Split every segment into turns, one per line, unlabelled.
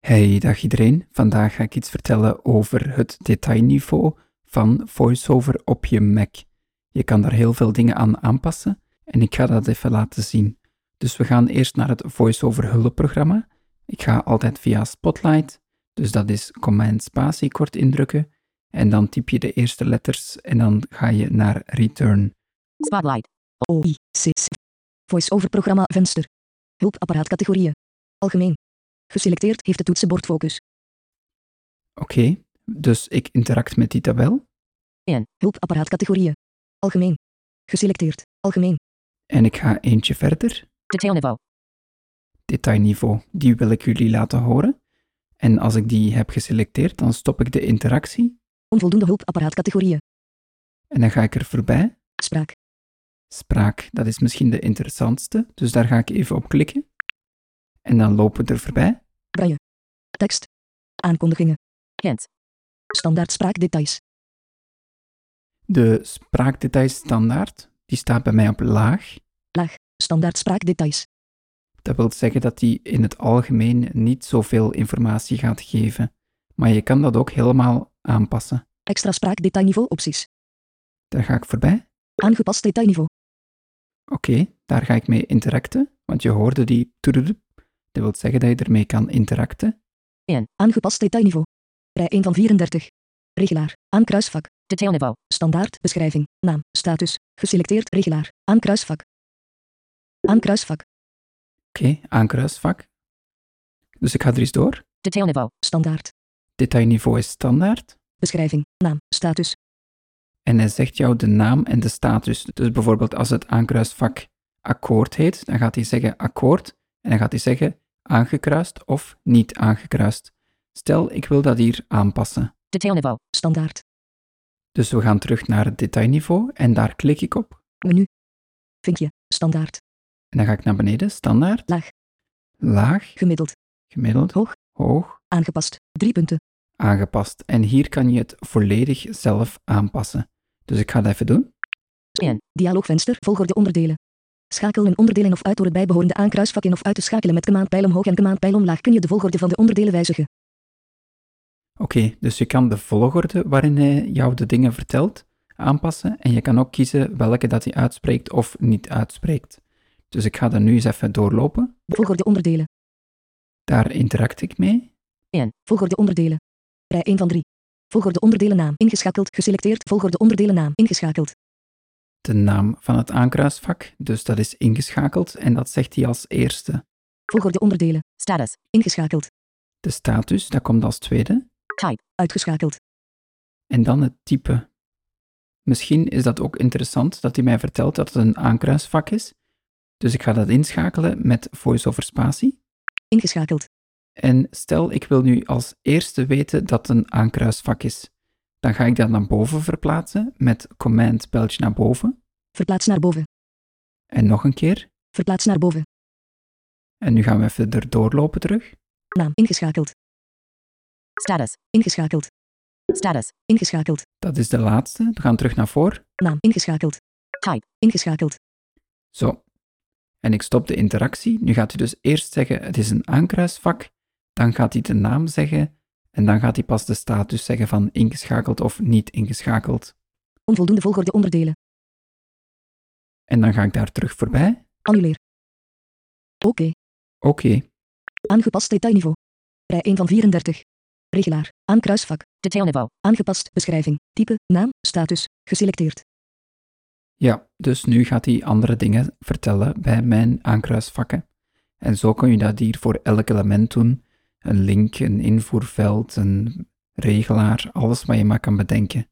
Hey, dag iedereen. Vandaag ga ik iets vertellen over het detailniveau van VoiceOver op je Mac. Je kan daar heel veel dingen aan aanpassen en ik ga dat even laten zien. Dus we gaan eerst naar het VoiceOver hulpprogramma. Ik ga altijd via Spotlight, dus dat is Command Spatie kort indrukken en dan typ je de eerste letters en dan ga je naar Return.
Spotlight. OICC. Voice-over programma venster. Hulpapparaatcategorieën. Algemeen. Geselecteerd heeft het toetsenbord focus.
Oké, dus ik interact met die tabel
In. Hulpapparaatcategorieën. Algemeen. Geselecteerd. Algemeen.
en ik ga eentje verder.
Detailniveau.
detailniveau. Die wil ik jullie laten horen. En als ik die heb geselecteerd, dan stop ik de interactie
Onvoldoende hulpapparaatcategorieën.
en dan ga ik er voorbij.
Spraak.
Spraak, dat is misschien de interessantste, dus daar ga ik even op klikken. En dan lopen we er voorbij.
Braille. Tekst. Aankondigingen. Hint. Standaard spraakdetails.
De spraakdetails standaard, die staat bij mij op laag.
Laag. Standaard spraakdetails.
Dat wil zeggen dat die in het algemeen niet zoveel informatie gaat geven. Maar je kan dat ook helemaal aanpassen.
Extra spraakdetailniveau opties.
Daar ga ik voorbij.
Aangepast detailniveau.
Oké, daar ga ik mee interacten, want je hoorde die toedeloep. Dat wil zeggen dat je ermee kan interacten.
In. Aangepast detailniveau. Rij 1 van 34. Regelaar. Aan kruisvak. Detailniveau. Standaard. Beschrijving. Naam. Status. Geselecteerd. Regelaar. Aan kruisvak. Aan kruisvak.
Oké, aankruisvak. Dus ik ga er eens door.
Detailniveau. Standaard.
Detailniveau is standaard.
Beschrijving. Naam. Status.
En hij zegt jou de naam en de status. Dus bijvoorbeeld als het aankruisvak akkoord heet, dan gaat hij zeggen akkoord. En dan gaat hij zeggen aangekruist of niet aangekruist. Stel, ik wil dat hier aanpassen.
Detailniveau. Standaard.
Dus we gaan terug naar het detailniveau en daar klik ik op.
Menu. Vinkje. Standaard.
En dan ga ik naar beneden, standaard.
Laag.
Laag,
Gemiddeld.
gemiddeld,
Hoog.
hoog.
Aangepast. Drie punten.
aangepast. En hier kan je het volledig zelf aanpassen. Dus ik ga dat even doen.
In. Dialoogvenster. Volgorde onderdelen. Schakelen onderdelen of uit door het bijbehorende aankruisvak in of uit te schakelen met command-pijl omhoog en command-pijl omlaag kun je de volgorde van de onderdelen wijzigen.
Oké, dus je kan de volgorde waarin hij jou de dingen vertelt aanpassen. En je kan ook kiezen welke dat hij uitspreekt of niet uitspreekt. Dus ik ga dat nu eens even doorlopen.
Volgorde onderdelen.
Daar interact ik mee.
In. Volgorde onderdelen. Rij 1 van 3. Volgorde onderdelen naam ingeschakeld. Geselecteerd. Volgorde onderdelen naam ingeschakeld.
De naam van het aankruisvak, dus dat is ingeschakeld en dat zegt hij als eerste.
Volgorde onderdelen. Status. Ingeschakeld.
De status, dat komt als tweede.
Type. Uitgeschakeld.
En dan het type. Misschien is dat ook interessant dat hij mij vertelt dat het een aankruisvak is. Dus ik ga dat inschakelen met voice-over spatie.
Ingeschakeld.
En stel ik wil nu als eerste weten dat het een aankruisvak is. Dan ga ik dat naar boven verplaatsen met command pijltje naar boven.
Verplaats naar boven.
En nog een keer.
Verplaats naar boven.
En nu gaan we even erdoor lopen terug.
Naam ingeschakeld. Status. Ingeschakeld. Status. Ingeschakeld.
Dat is de laatste. We gaan terug naar voren.
Naam ingeschakeld. Type. Ingeschakeld.
Zo. En ik stop de interactie. Nu gaat hij dus eerst zeggen: het is een aankruisvak. Dan gaat hij de naam zeggen. En dan gaat hij pas de status zeggen van ingeschakeld of niet ingeschakeld.
Onvoldoende volgorde onderdelen.
En dan ga ik daar terug voorbij.
Annuleer. Oké.
Oké,
Aangepast detailniveau. Rij 1 van 34. Regelaar. Aan kruisvak. Detailniveau. Aangepast beschrijving. Type. Naam. Status. Geselecteerd.
ja, dus nu gaat hij andere dingen vertellen bij mijn aankruisvakken. En zo kun je dat hier voor elk element doen: een link, een invoerveld, een regelaar, alles wat je maar kan bedenken.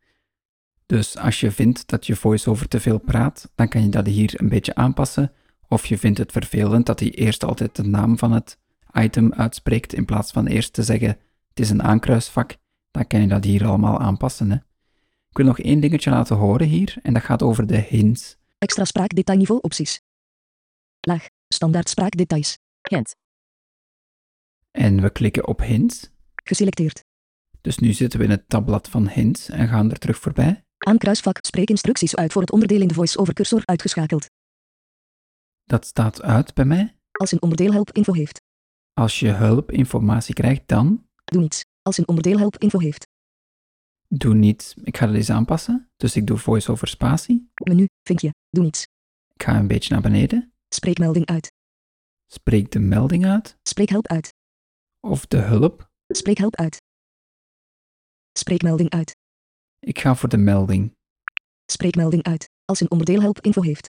Dus als je vindt dat je voice-over te veel praat, dan kan je dat hier een beetje aanpassen. Of je vindt het vervelend dat hij eerst altijd de naam van het item uitspreekt in plaats van eerst te zeggen het is een aankruisvak, dan kan je dat hier allemaal aanpassen. Hè. Ik wil nog één dingetje laten horen hier en dat gaat over de hints.
Extra spraakdetailniveau opties. Laag. Standaard spraakdetails. Hint.
En we klikken op hints.
Geselecteerd.
Dus nu zitten we in het tabblad van hints en gaan er terug voorbij.
Aan kruisvak. Spreek instructies uit voor het onderdeel in de voice-over cursor uitgeschakeld.
Dat staat uit bij mij.
Als een onderdeel help info heeft.
Als je hulpinformatie krijgt, dan
Doe niets. Als een onderdeel help info heeft.
doe niet. Ik ga dat eens aanpassen. Dus ik doe voice over spatie.
Menu, vinkje. Doe niets.
Ik ga een beetje naar beneden.
Spreekmelding uit.
Spreek de melding uit
Spreekhelp uit.
of de hulp.
Spreekhelp uit. Spreekmelding uit.
Ik ga voor de melding.
Spreekmelding uit. Als een onderdeel help info heeft.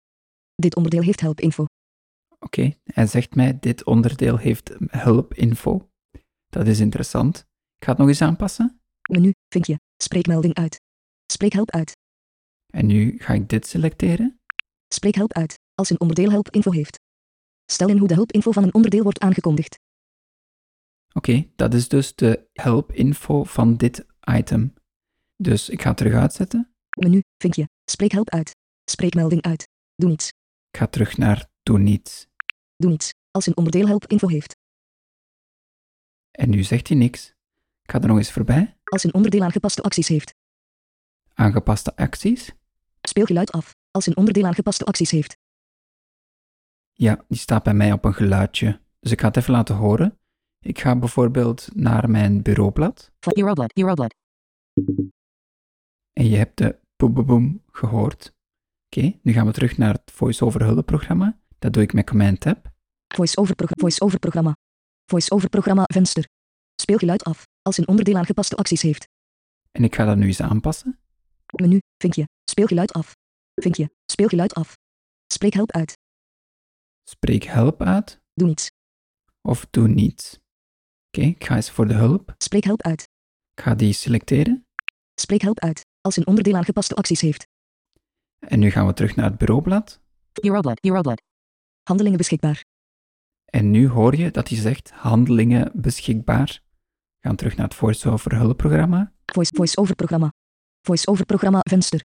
Dit onderdeel heeft help info.
Oké, hij zegt mij, dit onderdeel heeft hulpinfo. Dat is interessant. Ik ga het nog eens aanpassen.
Menu, vinkje. Spreekmelding uit. Spreekhelp uit.
En nu ga ik dit selecteren.
Spreekhelp uit. Als een onderdeel help info heeft. Stel in hoe de hulpinfo van een onderdeel wordt aangekondigd.
Oké, dat is dus de helpinfo van dit item. Dus ik ga het terug uitzetten.
Menu, vinkje. Spreekhelp uit. Spreekmelding uit. Doe niets.
Ik ga terug naar doe niets.
Doe niets. Als een onderdeel help info heeft.
En nu zegt hij niks. Ik ga er nog eens voorbij.
Als een onderdeel aangepaste acties heeft.
Aangepaste acties.
Speel geluid af. Als een onderdeel aangepaste acties heeft.
Ja, die staat bij mij op een geluidje. Dus ik ga het even laten horen. Ik ga bijvoorbeeld naar mijn bureaublad.
Van Euroblad, Euroblad.
En je hebt de boem boem boem gehoord. Oké, nu gaan we terug naar het voice-over hulpprogramma. Dat doe ik met Command Tab.
Voice-over progr- voice-over programma. Voice-over programma venster. Speel geluid af. Als een onderdeel aangepaste acties heeft.
En ik ga dat nu eens aanpassen.
Menu, vinkje. Speel geluid af. Vinkje, speel geluid af. Spreek help uit.
Spreek help uit
Doe niets.
of doe niets. Oké, ik ga eens voor de hulp.
Spreek help uit.
Ik ga die selecteren.
Spreek help uit. Als een onderdeel aangepaste acties heeft.
En nu gaan we terug naar het bureaublad.
Euroblad, Euroblad. Handelingen beschikbaar.
En nu hoor je dat hij zegt handelingen beschikbaar. We gaan terug naar het voice-over hulpprogramma.
Voice, voice-over programma. Voice-over programma venster.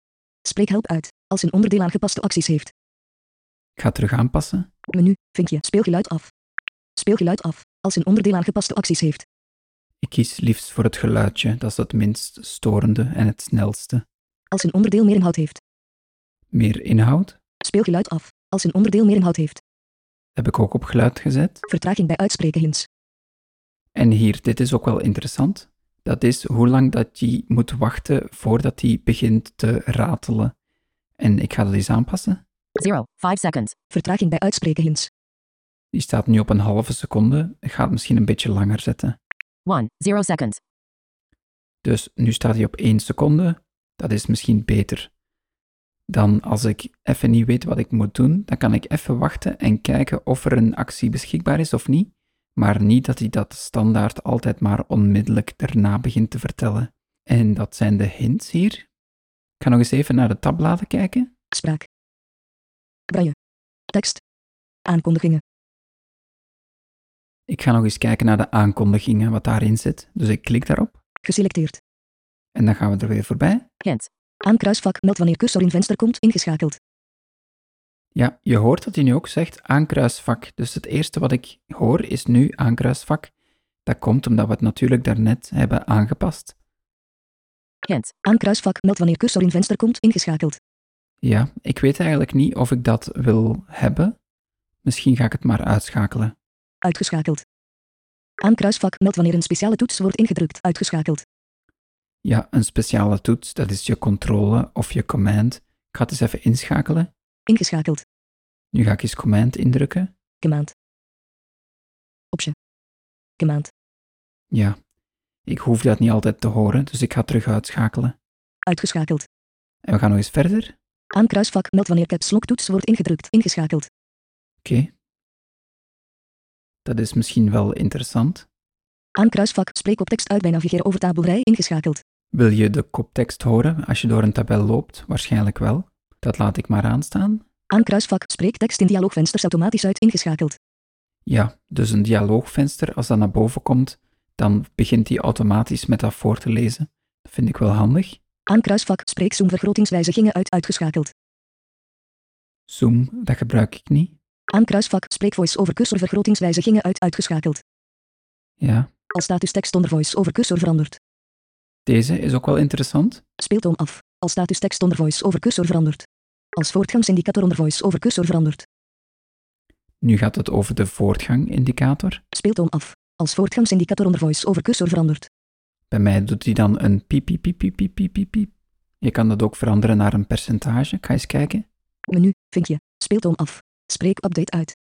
Spreek help uit. Als een onderdeel aangepaste acties heeft.
Ik ga het terug aanpassen.
Menu, vinkje, speelgeluid af. Speelgeluid af, als een onderdeel aangepaste acties heeft.
Ik kies liefst voor het geluidje, dat is het minst storende en het snelste.
Als een onderdeel meer inhoud heeft.
Meer inhoud
Speelgeluid af, als een onderdeel meer inhoud heeft.
heb ik ook op geluid gezet.
Vertraging bij uitspreken hints.
En hier, dit is ook wel interessant. Dat is hoe lang dat je moet wachten voordat hij begint te ratelen. En ik ga dat eens aanpassen.
0, 5 seconds.
Vertraging bij uitspreken hints.
Die staat nu op een halve seconde. Ik ga het misschien een beetje langer zetten.
1, 0 seconds.
Dus nu staat hij op 1 seconde. Dat is misschien beter. Dan als ik even niet weet wat ik moet doen, dan kan ik even wachten en kijken of er een actie beschikbaar is of niet. Maar niet dat hij dat standaard altijd maar onmiddellijk daarna begint te vertellen. En dat zijn de hints hier. Ik ga nog eens even naar de tabbladen kijken.
Spraak. Braille. Tekst. Aankondigingen.
Ik ga nog eens kijken naar de aankondigingen, wat daarin zit. Dus ik klik daarop
Geselecteerd.
en dan gaan we er weer voorbij.
Hints.
Aan kruisvak meld wanneer cursor in venster komt ingeschakeld.
Ja, je hoort dat hij nu ook zegt aankruisvak. Dus het eerste wat ik hoor is nu aankruisvak. Dat komt omdat we het natuurlijk daarnet hebben aangepast.
Hints.
Aan kruisvak meld wanneer cursor in venster komt ingeschakeld.
Ja, ik weet eigenlijk niet of ik dat wil hebben. Misschien ga ik het maar uitschakelen.
Uitgeschakeld. Aan kruisvak meld wanneer een speciale toets wordt ingedrukt. Uitgeschakeld.
Ja, een speciale toets, dat is je controle of je command. Ik ga het eens even inschakelen.
Ingeschakeld.
Nu ga ik eens command indrukken.
Command. Option. Command.
Ja, ik hoef dat niet altijd te horen, dus ik ga terug uitschakelen.
Uitgeschakeld.
En we gaan nog eens verder.
Aan kruisvak meld wanneer caps lock toets wordt ingedrukt. Ingeschakeld.
Oké. Dat is misschien wel interessant.
Aan kruisvak spreek op tekst uit bij navigeren over tabelrij. Ingeschakeld.
Wil je de koptekst horen als je door een tabel loopt? Waarschijnlijk wel. Dat laat ik maar aanstaan.
Aan kruisvak spreek tekst in dialoogvensters automatisch uit. Ingeschakeld.
Ja, dus een dialoogvenster, als dat naar boven komt, dan begint die automatisch met dat voor te lezen. Dat vind ik wel handig.
Aan kruisvak spreek zoom vergrotingswijzigingen uit. Uitgeschakeld.
Zoom, dat gebruik ik niet.
Aan kruisvak spreek voice over cursor vergrotingswijzigingen uit. Uitgeschakeld.
Ja,
Als status tekst onder voice over cursor verandert.
deze is ook wel interessant.
Speeltoon af. Als status tekst onder voice over cursor verandert. Als voortgangsindicator onder voice over cursor verandert.
Nu gaat het over de voortgang-indicator.
Speeltoon af. Als voortgangsindicator onder voice-over cursor veranderd.
Bij mij doet hij dan een piep, piep, piep, piep, piep, piep, piep, piep. Je kan dat ook veranderen naar een percentage. Ik ga eens kijken.
Menu, vinkje, speeltoon af. Spreek update uit.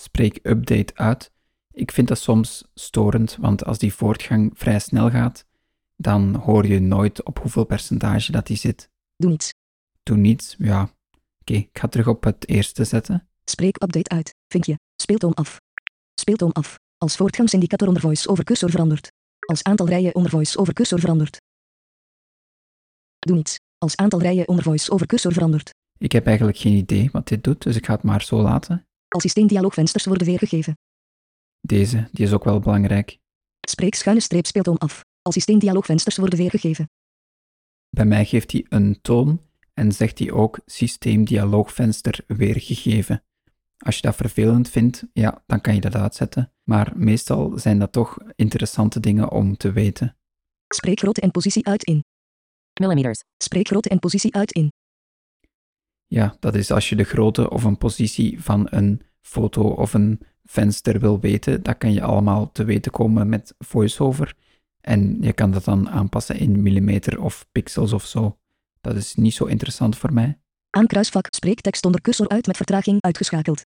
Spreek update uit. Ik vind dat soms storend, want als die voortgang vrij snel gaat, dan hoor je nooit op hoeveel percentage dat die zit.
Doe niets.
Doe niets, ja. Oké, ik ga terug op het eerste zetten.
Spreek update uit, vinkje, speeltoon af. Speeltoon af. Als voortgangsindicator onder voice-over cursor veranderd. Als aantal rijen onder voice-over cursor veranderd. Doe niets. Als aantal rijen onder voice-over cursor veranderd.
Ik heb eigenlijk geen idee wat dit doet, dus ik ga het maar zo laten.
Als systeemdialoogvensters worden weergegeven.
Deze, die is ook wel belangrijk.
Spreek schuine streep speeltoon af. Als systeemdialoogvensters worden weergegeven.
Bij mij geeft hij een toon en zegt hij ook systeemdialoogvenster weergegeven. Als je dat vervelend vindt, ja, dan kan je dat uitzetten. Maar meestal zijn dat toch interessante dingen om te weten.
Spreek grootte en positie uit in.
millimeters,
Spreek grootte en positie uit in.
Ja, dat is als je de grootte of een positie van een foto of een venster wil weten, dat kan je allemaal te weten komen met VoiceOver. En je kan dat dan aanpassen in millimeter of pixels of zo. Dat is niet zo interessant voor mij.
Aankruisvak. Spreek tekst onder cursor uit met vertraging uitgeschakeld.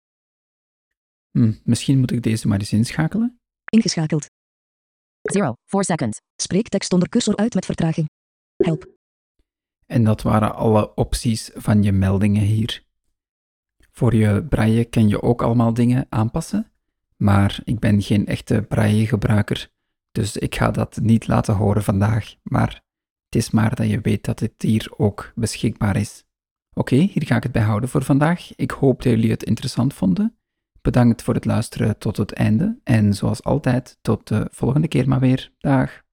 Hm, misschien moet ik deze maar eens inschakelen.
Ingeschakeld.
0, 4 seconds,
Spreek tekst onder cursor uit met vertraging. Help.
En dat waren alle opties van je meldingen hier. Voor je braille kan je ook allemaal dingen aanpassen, maar ik ben geen echte braille gebruiker, dus ik ga dat niet laten horen vandaag. Maar het is maar dat je weet dat dit hier ook beschikbaar is. Oké, hier ga ik het bij houden voor vandaag. Ik hoop dat jullie het interessant vonden. Bedankt voor het luisteren tot het einde en zoals altijd tot de volgende keer maar weer. Dag.